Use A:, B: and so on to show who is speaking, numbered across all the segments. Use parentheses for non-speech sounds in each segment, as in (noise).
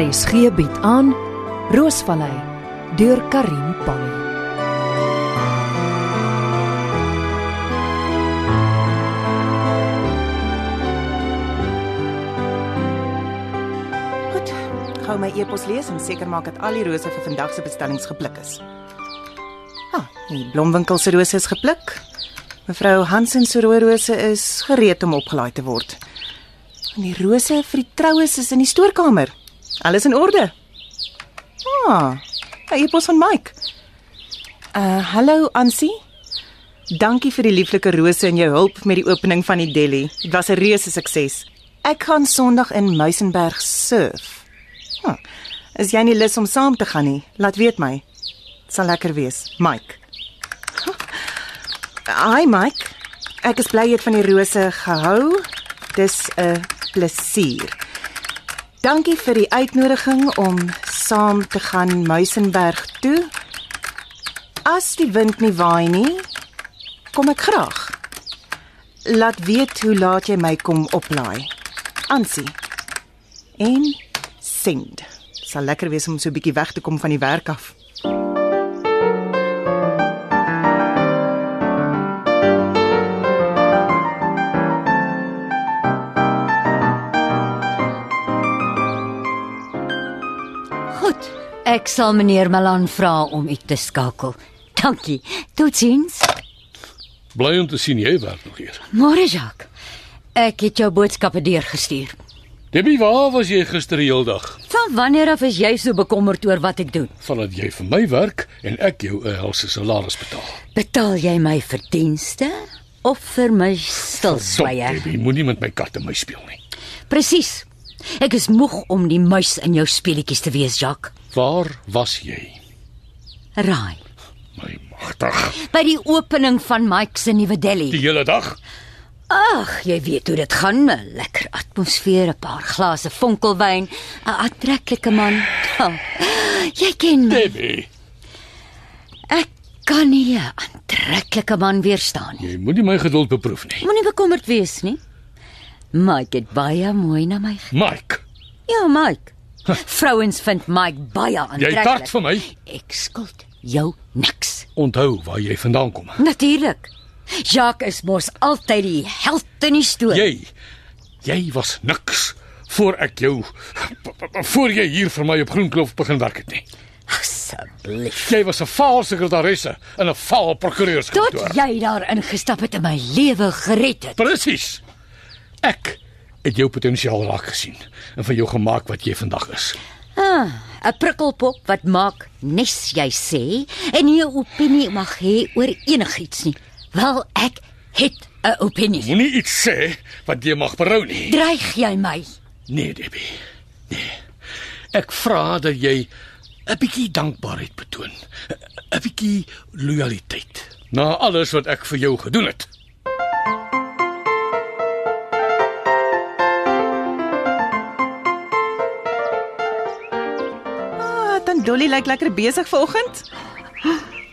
A: RSG bied aan Roosvallei deur Karin Pan.
B: Goed, gou my e-pos lees en seker maak dat al die rose vir vandag se bestellings gepluk is. Ah, die blomwinkel se rose is gepluk. Mevrou Hansen se rooi rose is gereed om opgelaai te word. En die rose vir die troues is in die stoorkamer. Alles in orde. Ah, 'n e-pos van Mike. Uh, hallo Ansie. Dankie vir die lieflike rose en jou hulp met die opening van die deli. Dit was 'n reuse sukses. Ek gaan Sondag in Muizenberg surf. Hm. Is jy nie lus om saam te gaan nie? Laat weet my. Dit sal lekker wees. Mike. Hm. Hi Mike. Ek is bly jy het van die rose gehou. Dis 'n plesier. Dankie vir die uitnodiging om saam te gaan Muizenberg toe. As die wind nie waai nie, kom ek graag. Laat weet hoe laat jy my kom oplaai. Ansie. En send. Sal lekker wees om so 'n bietjie weg te kom van die werk af.
C: Goed, ek sal meneer Malan vra om u te skakel. Dankie. Totsiens.
D: Bly om te sien jy werk nog hier.
C: Môre Jacques. Ek het jou boodskappe deurgestuur.
D: Debbie, waar was jy gister die hele dag?
C: Van wanneer af is jy so bekommerd oor wat ek doen?
D: Vandat jy vir my werk en ek jou 'n helse salaris betaal.
C: Betaal jy my vir dienste of vir my
D: Stop,
C: stilswyer?
D: Debbie, moenie met my kat en my speel nie.
C: Presies. Ek is moeg om die muis in jou speletjies te wees, Jacques.
D: Waar was jy?
C: Raai.
D: My magtig.
C: By die opening van Mike se nuwe deli.
D: Die hele dag?
C: Ag, jy weet hoe dit gaan, 'n lekker atmosfeer, 'n paar glase vonkelwyn, 'n aantreklike man. Oh, jy ken my.
D: Debbie,
C: Ek kan nie 'n aantreklike man weerstaan nie.
D: jy moenie my geduld beproef nie.
C: Moenie bekommerd wees nie. Mike het baie mooi na my. ge-
D: Mike,
C: Ja, Mike. Vrouens vind Mike baie
D: jy
C: aantreklik.
D: tart vir my.
C: Ek skuld jou niks.
D: Onthou waar jy vandaan kom.
C: Natuurlik. Jacques is mos altyd die held in die storie.
D: Jy jy was niks voor ek jou voor jy hier vir my op Groenkloof begin werk het nie.
C: Asseblief.
D: Jy was 'n vaal sekretaresse en 'n vaal prokureurskantoor.
C: Tot jy daar ingestap het en my lewe gered het.
D: Presies. Ek het jou potensiaal raak gesien en van jou gemaak wat jy vandag is.
C: Ah, 'n prikkelpop wat maak nes jy sê en nie 'n opinie mag hê oor enigiets nie. Wel, ek het 'n opinie.
D: Moenie iets sê wat jy mag berou nie.
C: Dreig jy my?
D: Nee, Debbie. Nee. Ek vra dat jy 'n bietjie dankbaarheid betoon. 'n Bietjie lojaliteit. Na alles wat ek vir jou gedoen het.
B: Ah, dan Dolly lyk lekker besig vanoggend.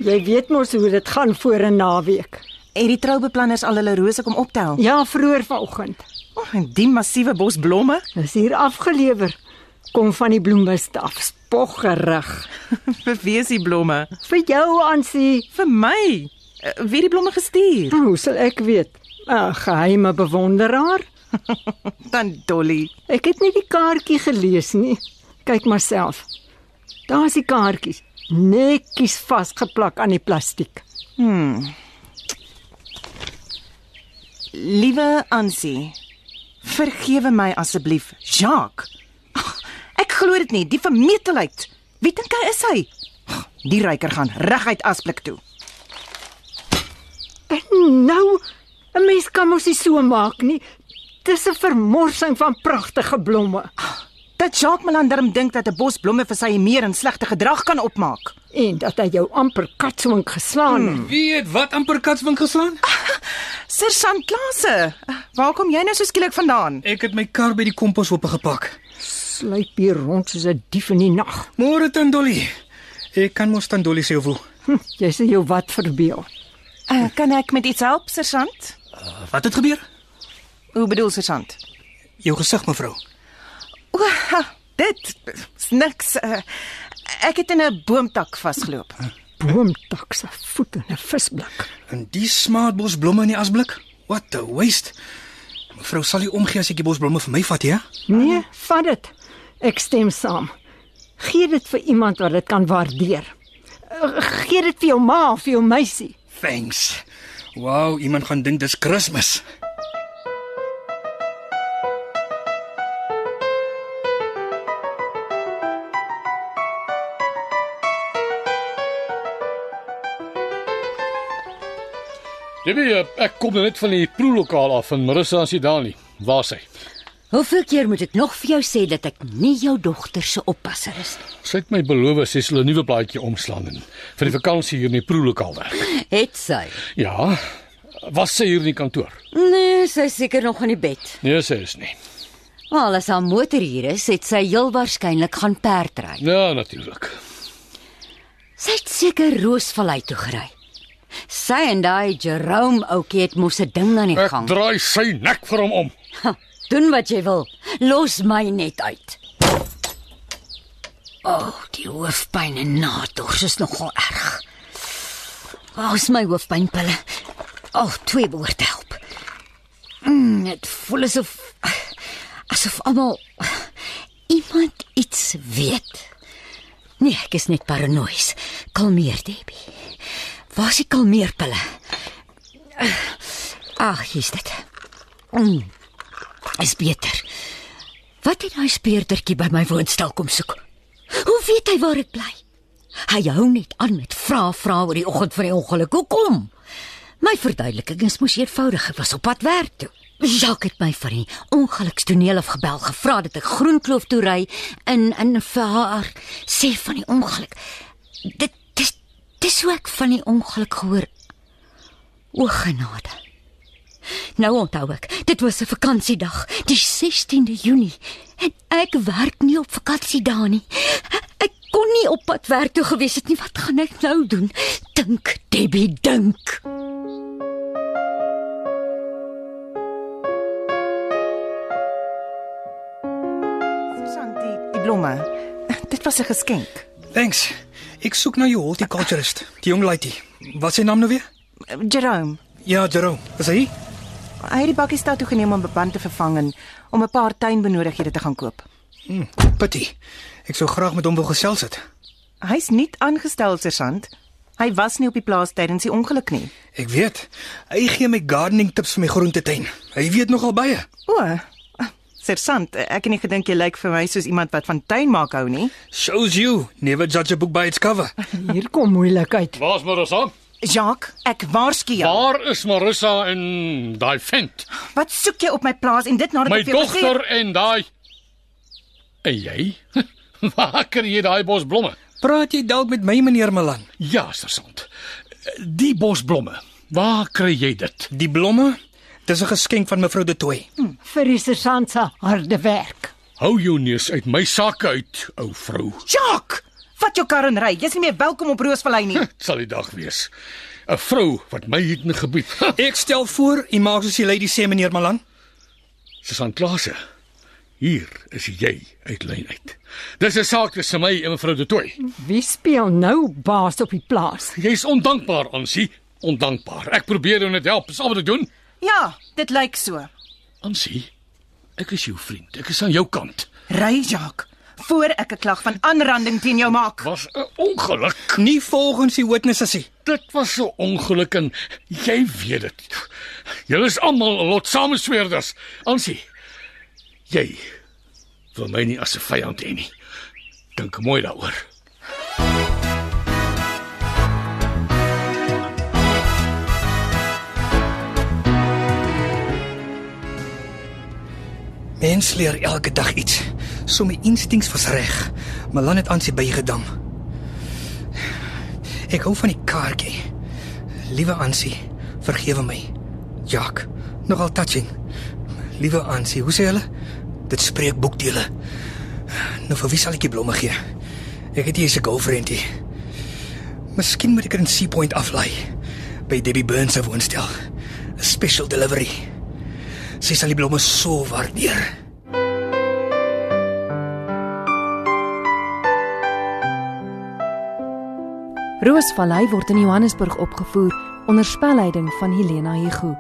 E: Jy weet mos hoe dit gaan voor 'n naweek.
B: Het die troubeplanners al hulle rose kom optel?
E: Ja, vroeër vanoggend.
B: Oh, en die massiewe bos blomme.
E: Dis hier afgelewer. Kom van die bloemiste af, spoggerig.
B: (laughs) Vir wie is die blomme?
E: Vir jou aansie.
B: Vir my. Eh, Wie het die blomme gestuur?
E: Hoe Nou, sal ek weet? 'n Geheime bewonderaar?
B: Dan Dolly.
E: Ek het nie die kaartjie gelees nie. Kyk maar self. Daar's die kaartjies, netjies vasgeplak aan die plastiek.
B: Liewe Ansie, vergewe my asseblief, Jacques. (laughs) Ag, ek glo dit nie, die vermetelheid. Wie dink hy is hy? Ag, Die ryker gaan reguit asblik toe.
E: En nou, 'n mens kan mos nie so maak nie. Dis 'n vermorsing van pragtige blomme.
B: Dat Jacques Melanderm dink dat 'n bos blomme vir sy meer en slegte gedrag kan opmaak.
E: en dat hy jou amper katswink geslaan het.
F: Wie het wat amper katswink geslaan?
B: Sir Sanklase, waar kom jy nou so skielik vandaan?
F: Ek het my kar by die kompos oopgepak.
E: Sluip hier rond soos 'n dief in die nag.
F: Môre Tandoli. Ek kan mos Tandoli sê hoe.
E: Hm, jy sê jou wat verbeel.
B: Uh, kan ek met iets help, sergeant?
F: Wat het gebeur?
B: Hoe bedoel sergeant?
F: Jou gesig mevrou.
B: O, ha, dit is niks. Uh, ek het in 'n boomtak vasgeloop.
E: Boomtak se voet in 'n visblik.
F: En die smaadbosblomme in die asblik? What a waste. Mevrou sal nie omgee as ek die bosblomme vir my vat, ja?
E: Nee, vat dit. Ek stem saam. Gee dit vir iemand wat dit kan waardeer. Eh, Gee dit vir jou ma of vir jou meisie.
F: Thanks. Wow, iemand gaan dink dis Kersfees.
D: Debbie, eh, ek kom nou net van die proelokaal af en Marissa is nie daar nie. Waar is sy?
C: Hoeveel keer moet ek nog vir jou sê dat ek nie jou dogter se oppasser is nie?
D: Sy het my beloof sy sal 'n nuwe blaadjie omslaan en vir die vakansie hier in die proelokaal werk.
C: (laughs) Het sy?
D: Ja. Was sy hier in die kantoor?
C: Nee, sy is seker nog in die bed.
D: Nee, sy is nie.
C: Wel, as haar motor hier is, het sy heel waarskynlik gaan perdry.
D: Ja, natuurlik.
C: Sy het seker Roosvallei toe gery. Sy en daai Jerome oukie het mos 'n ding aan die
D: Ek
C: gang.
D: draai sy nek vir hom om.
C: Ha, doen wat jy wil. Los my net uit. O, oh, die hoofpyn en nadors is nogal erg. Waar is my hoofpynpille? O, oh, twee behoort te help. Mm, dit voel asof asof almal iemand iets weet. Nee, ek is net paranoïes. Kalmeer, Debbie. Waar is die kalmeerpille? Ag, hier's dit. Mm, is beter. Wat het daai speerdertjie by my woonstel kom soek? Hoe weet hy waar ek bly? Hy hou net aan met vrae vrae oor die oggend van die ongeluk. Hoekom? My verduideliking is mos eenvoudig. Ek was op pad werk toe. Jacques het my van die ongelukstoneel af gebel, gevra dat ek Groenkloof toe ry en en vir haar sê van die ongeluk. Dit dis dis hoe ek van die ongeluk gehoor. O genade. Nou onthou ek, dit was 'n vakansiedag, die 16de Junie. En ek werk nie op vakansiedae nie. Ek kon nie op pad werk toe gewees het nie. Wat gaan ek nou doen? Dink, Debbie, dink.
B: Susan, die, die blomme. Dit was 'n geskenk.
F: Thanks. Ek soek na jou horticulturist, die jong laaitie. Wat is sy naam nou weer?
B: Jerome,
F: Ja, Jerome. Is hy?
B: hy het die bakkie stad toe geneem om bepand te vervang en om 'n paar tuinbenodighede te gaan koop.
F: Pity. Hm, Ek sou graag met hom wil gesels het.
B: Hy's nie aangestel sergeant. Hy was nie op die plaas tydens die ongeluk nie.
F: Ek weet. Hy gee my gardening tips vir my groentetein. Hy weet nogal baie.
B: O, sergeant, ek het nie gedink jy lyk vir my soos iemand wat van tuin maak hou nie.
F: Shows you never judge a book by its cover.
E: Hier kom moeilikheid.
D: Waar's Marissa?
B: Jacques, ek waarsku jou.
D: Waar is Marissa en daai vent?
B: Wat soek jy op my plaas en dit nadat
D: My
B: ek vir jou gesê het?
D: dogter en daai En jy? (laughs) Waar kry jy daai bosblomme?
F: Praat jy dalk met my meneer Malan?
D: Ja, sergeant. Die bosblomme. Waar kry jy dit?
F: Die blomme? Dis 'n geskenk van mevrou De Tooy.
E: Vir die sergeant se harde werk.
D: Hou jou neus uit my sak uit, ou vrou.
B: Jacques, vat jou kar en ry. Jy's nie meer welkom op Roosvallei nie.
D: (laughs) Dit sal die dag wees. 'n Vrou wat my hier in gebied. (laughs)
F: Ek stel voor, u maak soos die lady sê meneer Malan.
D: Susan Klase. Hier is jy uit lyn uit. Dis 'n saak tussen my en mevrou De Tooy.
E: Wie speel nou baas op die plaas?
D: Jy's ondankbaar, Ansie, ondankbaar. Ek probeer jou net help, dis al wat ek doen.
B: Ja, dit lyk so.
D: Ansie, ek is jou vriend. Ek is aan jou kant.
B: Ry, Jacques, voor ek 'n klag van aanranding teen jou maak.
D: Was 'n ongeluk.
F: Nie volgens die witnesses nie.
D: Dit was so ongeluk en jy weet dit. Julle is almal lot samesweerders. Ansie, jy wil my nie as 'n vyand hê nie. Dink mooi daaroor.
F: Mens leer elke dag iets. So my instinks was reg. Malan het aan sy bygedam. Ek hou van die kaartjie. Liewe Ansie, vergewe my. Jacques, nogal touching. Liewe Ansie, hoe sê hulle? Dit spreek boekdele. Nou vir wie sal ek die blomme gee? Ek het hier 'n girlfriend hier. Miskien moet ek dit in Sea Point aflaai by Debbie Burns se woonstel. 'n Special delivery. Sy sal die blomme so waardeer.
A: Roosvallei word in Johannesburg opgevoer onder spelleiding van Helena Hugo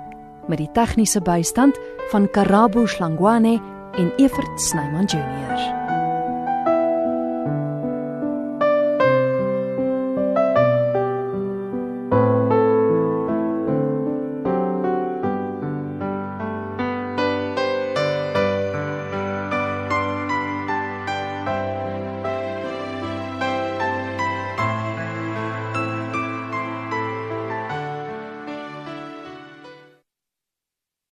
A: met die tegniese bystand van Karabo Slangwane en Evert Snyman Junior.